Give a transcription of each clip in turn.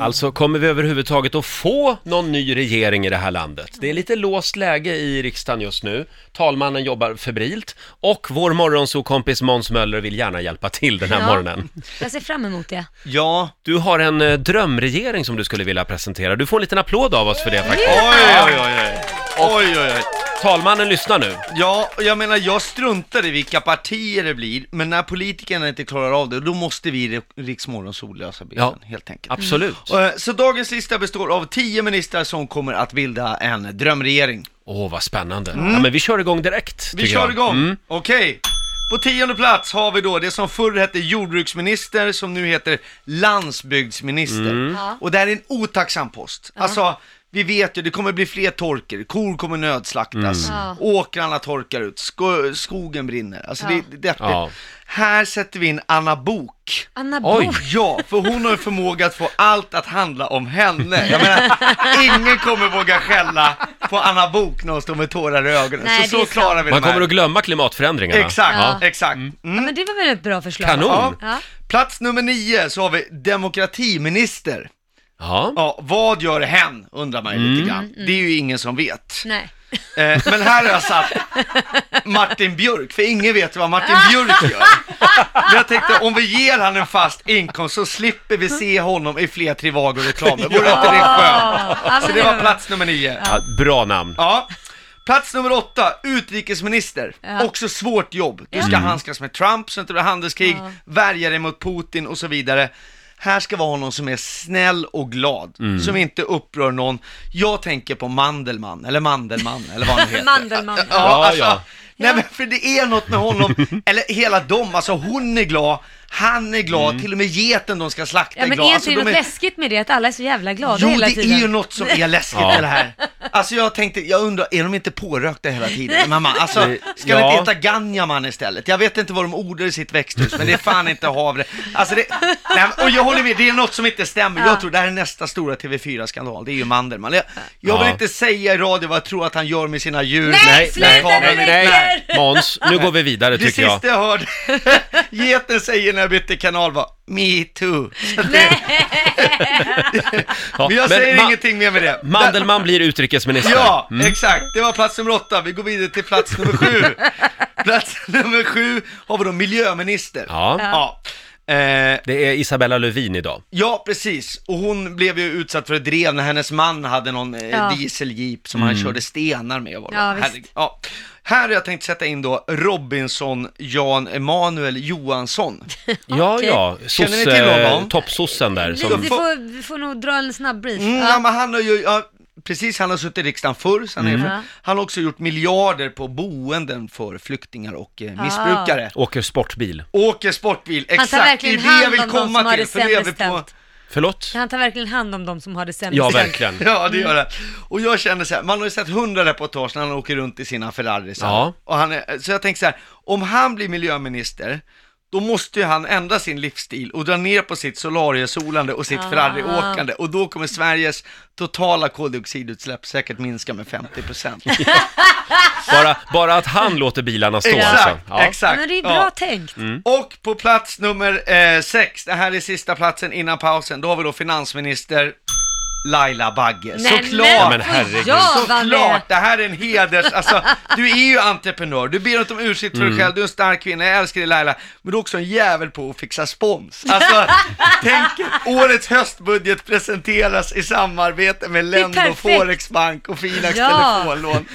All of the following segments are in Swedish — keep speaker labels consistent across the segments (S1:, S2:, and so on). S1: Alltså, kommer vi överhuvudtaget att få någon ny regering i det här landet? Det är lite låst läge i riksdagen just nu. Talmannen jobbar febrilt och vår morgonsokompis Måns Möller vill gärna hjälpa till den här
S2: Ja.
S1: morgonen.
S2: Jag ser fram emot det.
S3: Ja,
S1: Du har en eh, drömregering som du skulle vilja presentera. Du får en liten applåd av oss för det faktiskt.
S3: oj, oj, oj, oj. Oj, oj, oj.
S1: Talmannen lyssnar nu.
S3: Ja, och jag menar jag struntar i vilka partier det blir, men när politikerna inte klarar av det, då måste vi i Riks Morgonzoo lösa biten,
S1: Ja.
S3: helt enkelt.
S1: Absolut. Åh,
S3: Eh, Så dagens lista består av 10 ministrar som kommer att bilda en drömregering.
S1: vad spännande. Ja, men vi kör igång direkt.
S3: Mm. Vi
S1: tycker
S3: kör
S1: jag.
S3: igång!
S1: Mm.
S3: Okej! På tionde plats har vi då det som förr hette jordbruksminister, som nu heter landsbygdsminister.
S1: Mm.
S2: Ja.
S3: Och det här är en otacksam post. Alltså, vi vet ju, det kommer bli fler torker, kor kommer nödslaktas,
S1: Mm.
S2: Ja.
S3: åkrarna torkar ut, sko- skogen brinner. Alltså
S2: Ja.
S3: det, det är
S1: Ja.
S3: Här sätter vi in Anna Bok.
S2: Anna
S1: Oj.
S2: Bok.
S3: Ja, för hon har en förmåga att få allt att handla om henne. Jag menar, ingen kommer våga skälla på Anna Bok när hon står med tårar i ögonen.
S2: Nej,
S3: så
S2: det är
S3: så klarar vi
S1: Man
S3: det här.
S1: kommer att glömma klimatförändringarna.
S3: Exakt,
S2: Ja.
S3: exakt.
S2: Ja,
S3: Mm.
S2: men det var väl ett bra förslag?
S1: Kanon.
S3: Ja.
S2: Ja.
S3: Plats nummer nio så har vi demokratiminister.
S1: Ja.
S3: Ja, vad gör hen, undrar man ju lite grann. Det är ju ingen som vet.
S2: Nej.
S3: Eh, men här har jag satt Martin Björk, för ingen vet vad Martin Björk gör. Men jag tänkte om vi ger han en fast inkomst så slipper vi se honom i fler Trivago-reklamer. Vore inte det skönt?
S2: Ja,
S3: Så
S2: men
S3: det var plats nummer nio.
S1: Ja, bra namn.
S3: Ja. Plats nummer åtta, utrikesminister.
S2: Ja.
S3: Också svårt jobb. Du ska handskas med Trump så inte det blir handelskrig,
S2: Ja.
S3: värja dig mot Putin och så vidare. Här ska vara någon som är snäll och glad, som inte upprör någon. Jag tänker på Mandelmann, eller Mandelmann, eller vad han heter.
S2: Mandelmann.
S3: Ja,
S1: Ja,
S3: alltså,
S1: ja.
S3: Nej men för det är något med honom, eller hela dem, alltså hon är glad, han är glad, till och med geten de ska slakta
S2: Ja,
S3: är
S2: men
S3: glad.
S2: är inte
S3: Alltså,
S2: det
S3: de
S2: något
S3: är-
S2: läskigt med det att alla är så jävla glada
S3: Jo,
S2: hela
S3: det
S2: tiden?
S3: är ju något som är läskigt
S1: Ja.
S3: med det här. Alltså jag tänkte, jag undrar, är de inte pårökta hela tiden? Mamma, alltså,
S1: Nej,
S3: ska
S1: ja.
S3: de inte äta Ganjaman istället? Jag vet inte vad de odlar i sitt växthus, men det är fan inte havre. Alltså det, nej, men- och jag håller med, det är något som inte stämmer.
S2: Ja.
S3: Jag tror det här är nästa stora TV4-skandal, det är ju Mandelmann. Jag, jag vill
S1: Ja.
S3: inte säga i radio vad jag tror att han gör med sina djur.
S2: Nej, sluta
S3: kameran-
S2: med det! Nej.
S1: Måns, nu går vi vidare
S3: Det
S1: tycker jag.
S3: sista jag hörde geten säger när jag bytte kanal var Me too. Så det,
S1: Ja,
S3: men jag säger
S1: Ma-
S3: ingenting mer med det. Där-
S1: Mandelmann blir utrikesminister. Mm.
S3: Ja, exakt. Det var plats nummer åtta. Vi går vidare till plats nummer sju. plats nummer sju har vi då miljöminister.
S1: Ja,
S3: Ja. Eh,
S1: det är Isabella Lövin idag.
S3: ja, precis. Och hon blev ju utsatt för ett drev när hennes man hade någon eh,
S2: Ja.
S3: dieseljeep som han körde stenar med. Var det.
S2: Ja, visst.
S3: Herregud. ja. Här har jag tänkt sätta in då Robinson Jan Emanuel Johansson.
S1: Ja,
S2: Okej.
S1: ja,
S3: Känner ni till
S1: sosse,
S3: honom?
S1: toppsossen där
S2: Vi,
S1: som...
S2: vi, får, vi får nog dra en snabb brief.
S3: Mm, ja.
S2: ja.
S3: men han har ju, ja, precis, han har suttit i riksdagen förr, så han, är,
S2: Ja.
S3: han har också gjort miljarder på boenden för flyktingar och
S2: Ah.
S3: eh, missbrukare.
S1: Åker sportbil.
S3: Åker sportbil,
S2: tar
S3: exakt.
S2: verkligen
S3: det är det jag
S2: hand
S3: vill
S2: om de som
S3: komma
S2: har
S3: till,
S2: det
S3: för nu är vi
S2: sämre
S3: på...
S2: ställt.
S1: Förlåt?
S2: Han tar verkligen hand om de som har det sämst
S1: Ja,
S2: ställt.
S1: verkligen.
S3: Ja, det
S2: Mm.
S3: gör det. Och jag känner så här, man har ju sett hundra reportage när han åker runt i sina Ferraris.
S1: Ja.
S3: Och han är, så jag tänker så här, om han blir miljöminister, då måste ju han ändra sin livsstil och dra ner på sitt solariesolande och sitt
S2: Ah.
S3: Ferrari-åkande. Och då kommer Sveriges totala koldioxidutsläpp säkert minska med 50 procent.
S1: Bara, bara att han låter bilarna stå alltså.
S3: Exakt,
S1: Ja.
S3: exakt.
S2: Men det är bra
S3: Ja. Mm.
S2: tänkt.
S1: Mm.
S3: Och på plats nummer eh, sex, det här är sista platsen innan pausen, då har vi då finansminister Laila Bagge.
S1: Ja,
S3: Såklart!
S1: men herregud.
S2: Jag vara med.
S3: Såklart! Det här är en heders... Alltså, du är ju entreprenör, du ber inte om ursäkt
S1: Mm.
S3: för dig själv, du är en stark kvinna, jag älskar dig Laila, men du är också en jävel på att fixa spons. Alltså, tänk er, årets höstbudget presenteras i samarbete med Lendo,
S2: perfekt.
S3: Forexbank och Finax
S2: Ja.
S3: telefonlån.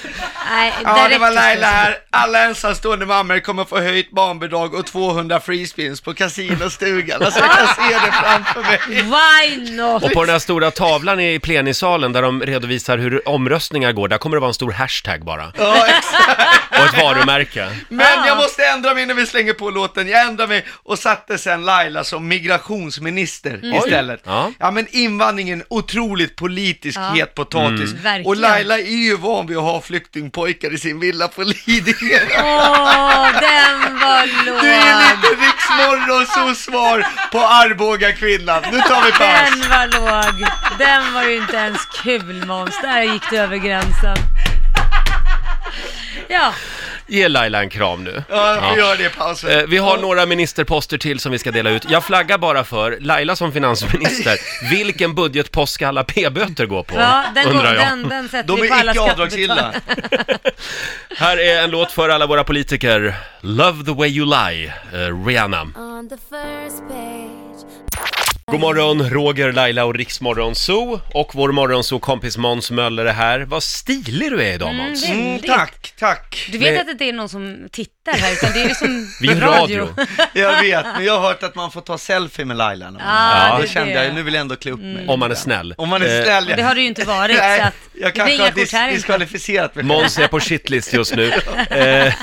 S2: Nej,
S3: Ja, det
S2: räcker
S3: var Laila
S2: inte.
S3: här. Alla ensamstående mammor kommer få höjt barnbidrag och 200 freespins på kasinostugan. Alltså jag kan se det framför mig.
S2: Why not?
S1: Och på den här stora tavlan i plenisalen där de redovisar hur omröstningar går, där kommer det vara en stor hashtag bara.
S3: Ja, exakt.
S1: Och ett varumärke.
S3: Men
S2: Ah.
S3: jag måste ändra mig när vi slänger på låten. Jag ändrar mig och satte sen Laila som migrationsminister istället.
S1: Oj. Ja.
S3: Ja. men invandring är en otroligt politisk
S2: Ja. Mm.
S3: het potatis.
S2: Verkligen.
S3: Och Laila är ju van vid att ha flyktingpojkar i sin villa på Lidingö.
S2: Åh, den var
S3: Du är
S2: låg.
S3: lite riksmorgon så svar på Arboga kvinnan. Nu tar vi paus.
S2: Den var låg. Den var ju inte ens kul Måns. Där gick du över gränsen. Ja,
S1: Ge Laila en kram nu.
S3: Ja, jag får
S1: Ja.
S3: göra det i pausen.
S1: Eh, Vi har några ministerposter till som vi ska dela ut. Jag flaggar bara för, Laila som finansminister, vilken budgetpost ska alla p-böter gå på?
S2: Ja, den, går,
S1: undrar jag.
S2: den, den sätter
S3: De
S2: vi på
S3: är
S2: alla
S3: icke
S2: skattebetalare.
S3: avdragsgilla.
S1: Här är en låt för alla våra politiker. Love the way you lie, eh, Rihanna.
S4: On the first page.
S1: God morgon, Roger, Laila och Riksmorgon Zoo. Och vår morgonzoo-kompis Måns Möller är här. Vad stilig du är idag Måns!
S3: Mm, tack, tack.
S2: Du vet
S1: Nej.
S2: att det inte är någon som tittar här, utan det är ju som
S1: Vi är radio.
S3: Jag vet, men jag har hört att man får ta selfie med Laila någon
S2: Ja,
S3: gång.
S1: det
S3: Då
S1: är
S3: kände
S2: Ah, det. Mm.
S3: jag, nu vill jag ändå klä upp mig.
S1: Om man är snäll.
S3: Om man
S1: Eh,
S3: är snäll, ja.
S2: Det har det ju inte varit, så att
S3: jag
S2: det blir
S3: kanske
S2: inga
S3: har
S2: kort här
S3: dis-
S2: inte.
S3: diskvalificerat mig själv.
S1: Måns är på shitlist just nu. Eh,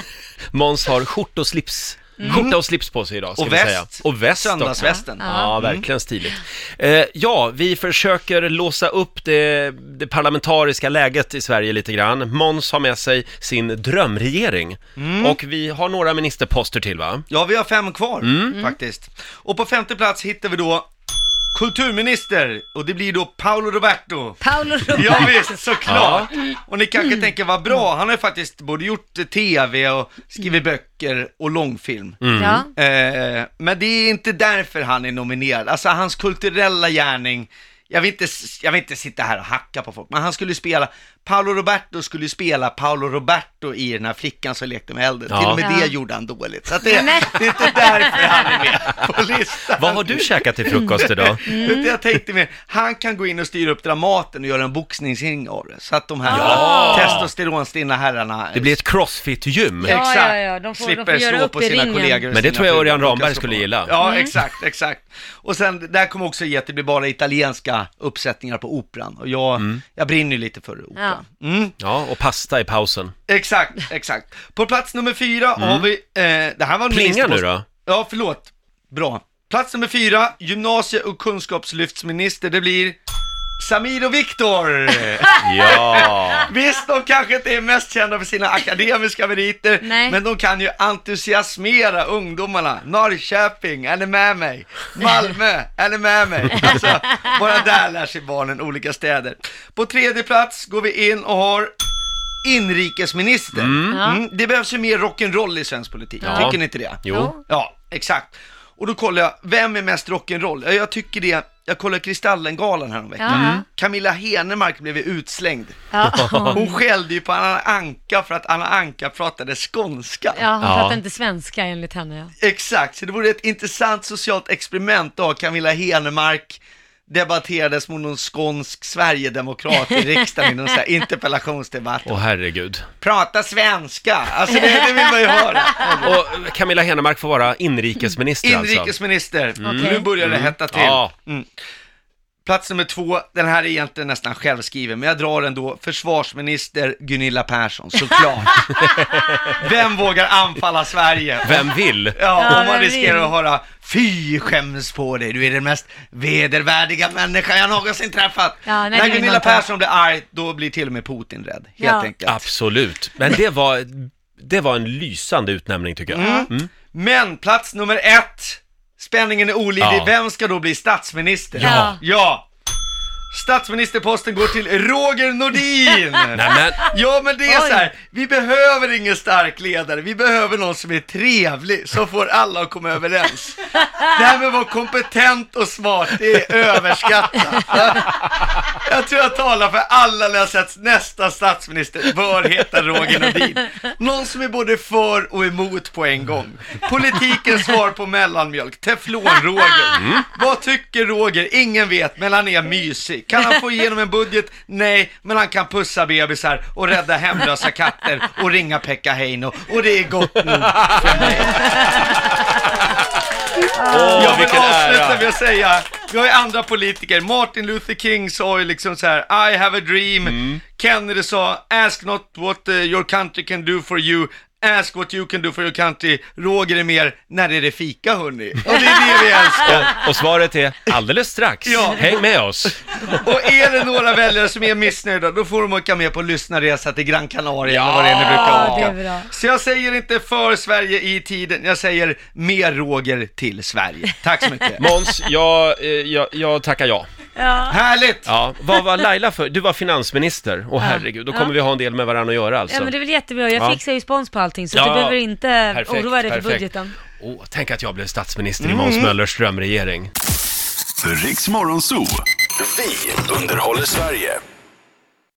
S1: Måns har skjorta och slips. Skjorta och slips på sig idag, ska
S3: Mm. Och
S1: vi
S3: väst.
S1: säga. Och väst också.
S3: Söndagsvästen. Mm.
S1: Ja, verkligen stiligt. Eh, ja, vi försöker låsa upp det, det parlamentariska läget i Sverige lite grann. Måns har med sig sin drömregering.
S3: Mm.
S1: Och vi har några ministerposter till va?
S3: Ja, vi har fem kvar
S1: Mm.
S2: Mm.
S3: faktiskt. Och på femte plats hittar vi då kulturminister och det blir då Paolo Roberto.
S2: Paolo
S3: Ja
S2: Roberto.
S3: visst, såklart! Och ni
S2: Mm.
S3: kanske tänker vad bra, han har ju faktiskt både gjort eh, TV och skrivit böcker och långfilm.
S1: Mm.
S2: Ja.
S3: Eh, men det är inte därför han är nominerad. Alltså hans kulturella gärning, jag vill, inte, jag vill inte sitta här och hacka på folk, men han skulle ju spela, Paolo Roberto skulle ju spela Paolo Roberto i den här flickan som lekte med elden.
S1: Ja.
S3: Till och med
S2: Ja.
S3: det gjorde han dåligt. Så att det,
S2: Nej.
S3: det är inte därför han är med på listan. Mm.
S1: Vad har du käkat till frukost idag?
S3: Utan jag tänkte mer, han kan gå in och styra upp Dramaten och göra en boxningsring av det. Så att de här
S1: Ja.
S3: testosteronstinna herrarna
S1: Det blir ett crossfit-gym.
S2: Ja.
S3: Exakt.
S2: de får- de
S3: slipper
S2: får göra
S3: slå
S2: upp
S3: på
S2: i
S3: sina
S2: ringen. Mm.
S3: kollegor. och
S1: Men det
S3: sina
S1: tror jag
S3: fruar.
S1: Örjan Ramberg
S3: De kan slå
S1: skulle
S3: på.
S1: gilla.
S3: Ja, exakt, exakt. Och sen, där kommer också ge att det blir bara italienska uppsättningar på operan. Och jag,
S1: Mm.
S3: jag brinner ju lite för operan. Mm.
S1: Ja, och pasta i pausen.
S3: Exakt, exakt. På plats nummer fyra har vi, eh, det här var en
S1: Plinga Mm. nu
S3: ministerpost-
S1: då.
S3: Ja, förlåt. Bra. Plats nummer fyra, gymnasie och kunskapslyftsminister, det blir Samir och Viktor!
S1: Ja!
S3: Visst, de kanske inte är mest kända för sina akademiska meriter,
S2: Nej.
S3: men de kan ju entusiasmera ungdomarna. Norrköping, är ni med mig? Malmö, är ni med mig? Alltså, bara där lär sig barnen olika städer. På tredje plats går vi in och har inrikesminister. Mm, det behövs ju mer rock'n'roll i svensk politik,
S1: Ja.
S3: tycker ni inte det?
S1: Jo.
S3: Ja, exakt. Och då kollar jag, vem är mest rock'n'roll? Ja, Jag tycker det, jag kollar Kristallengalan häromveckan.
S2: Ja. Mm.
S3: Camilla Henemark blev ju utslängd.
S2: Ja.
S3: Hon skällde ju på Anna Anka för att Anna Anka pratade skånska.
S2: Ja, hon
S1: Ja.
S2: pratar inte svenska enligt henne. Ja.
S3: Exakt, så det vore ett intressant socialt experiment då Camilla Henemark debatterades mot någon skånsk Sverigedemokrat i riksdagen i någon sån här interpellationsdebatt.
S1: Åh herregud.
S3: Prata svenska! Alltså det, det vill man ju höra.
S1: Och Camilla Henemark får vara inrikesminister alltså.
S3: Inrikesminister,
S2: Okej.
S3: nu börjar det hetta till.
S1: Ja.
S3: Mm. Plats nummer två, den här är egentligen nästan självskriven, men jag drar den då. Försvarsminister Gunilla Persson, såklart. Vem vågar anfalla Sverige?
S1: Vem vill?
S3: Ja,
S2: Ja,
S3: om man
S2: vem
S3: riskerar
S2: vill?
S3: att höra Fy skäms på dig, du är den mest vedervärdiga människan jag någonsin träffat.
S2: Ja, nej, det
S3: När
S2: vill man
S3: Gunilla
S2: inte.
S3: Persson blir arg, då blir till och med Putin rädd, helt
S2: Ja.
S3: enkelt.
S1: Absolut. Men det var, det var en lysande utnämning tycker jag. Mm.
S3: Men plats nummer ett, spänningen är olidlig.
S1: Ja.
S3: Vem ska då bli statsminister?
S2: Ja.
S3: ja. Statsministerposten går till Roger Nordin!
S1: Nej, men,
S3: Ja men det är
S2: Oj.
S3: så här, vi behöver ingen stark ledare, vi behöver någon som är trevlig, som får alla att komma överens. Det här med att vara kompetent och smart, det är överskattat. Jag tror jag talar för alla när jag säger att nästa statsminister bör heta Roger Nordin. Någon som är både för och emot på en gång. Politikens svar på mellanmjölk, teflon-Roger. Vad tycker Roger? Ingen vet, men han är mysig. Kan han få igenom en budget? Nej, men han kan pussa bebisar och rädda hemlösa katter och ringa Pekka Heino. Och det är gott nog.
S1: åh,
S3: Jag vill
S1: vilken
S3: avsluta med
S1: ära!
S3: att säga, vi har ju andra politiker, Martin Luther King sa ju liksom så här: I have a dream,
S2: Mm.
S3: Kennedy sa, ask not what eh, your country can do for you, ask what you can do for your country, Roger är mer, när är det fika hörni? Och det är det vi älskar.
S1: Och svaret är alldeles strax.
S3: Ja.
S1: Häng med oss!
S3: Och är det några väljare som är missnöjda, då får de åka med på lyssnarresa till Gran Canaria eller vad det är ni brukar
S2: Ja, det
S3: åka.
S2: är bra.
S3: Så jag säger inte för Sverige i tiden, jag säger mer Roger till Sverige. Tack så mycket.
S1: Måns, jag, eh, jag, jag tackar ja.
S2: Ja.
S3: Härligt!
S1: Ja, vad var Laila för? Du var finansminister. Åh herregud, då kommer
S2: Ja.
S1: vi ha en del med varandra att göra alltså.
S2: ja, men det är väl jättebra. Jag
S1: Ja.
S2: fixar ju spons på allting, så
S1: Ja.
S2: du behöver inte
S1: Perfekt,
S2: oroa dig för
S1: perfekt.
S2: budgeten. Mm.
S1: Åh, tänk att jag blev statsminister i Måns Möllers drömregering.
S5: Riks Morgonzoo. Vi underhåller Sverige.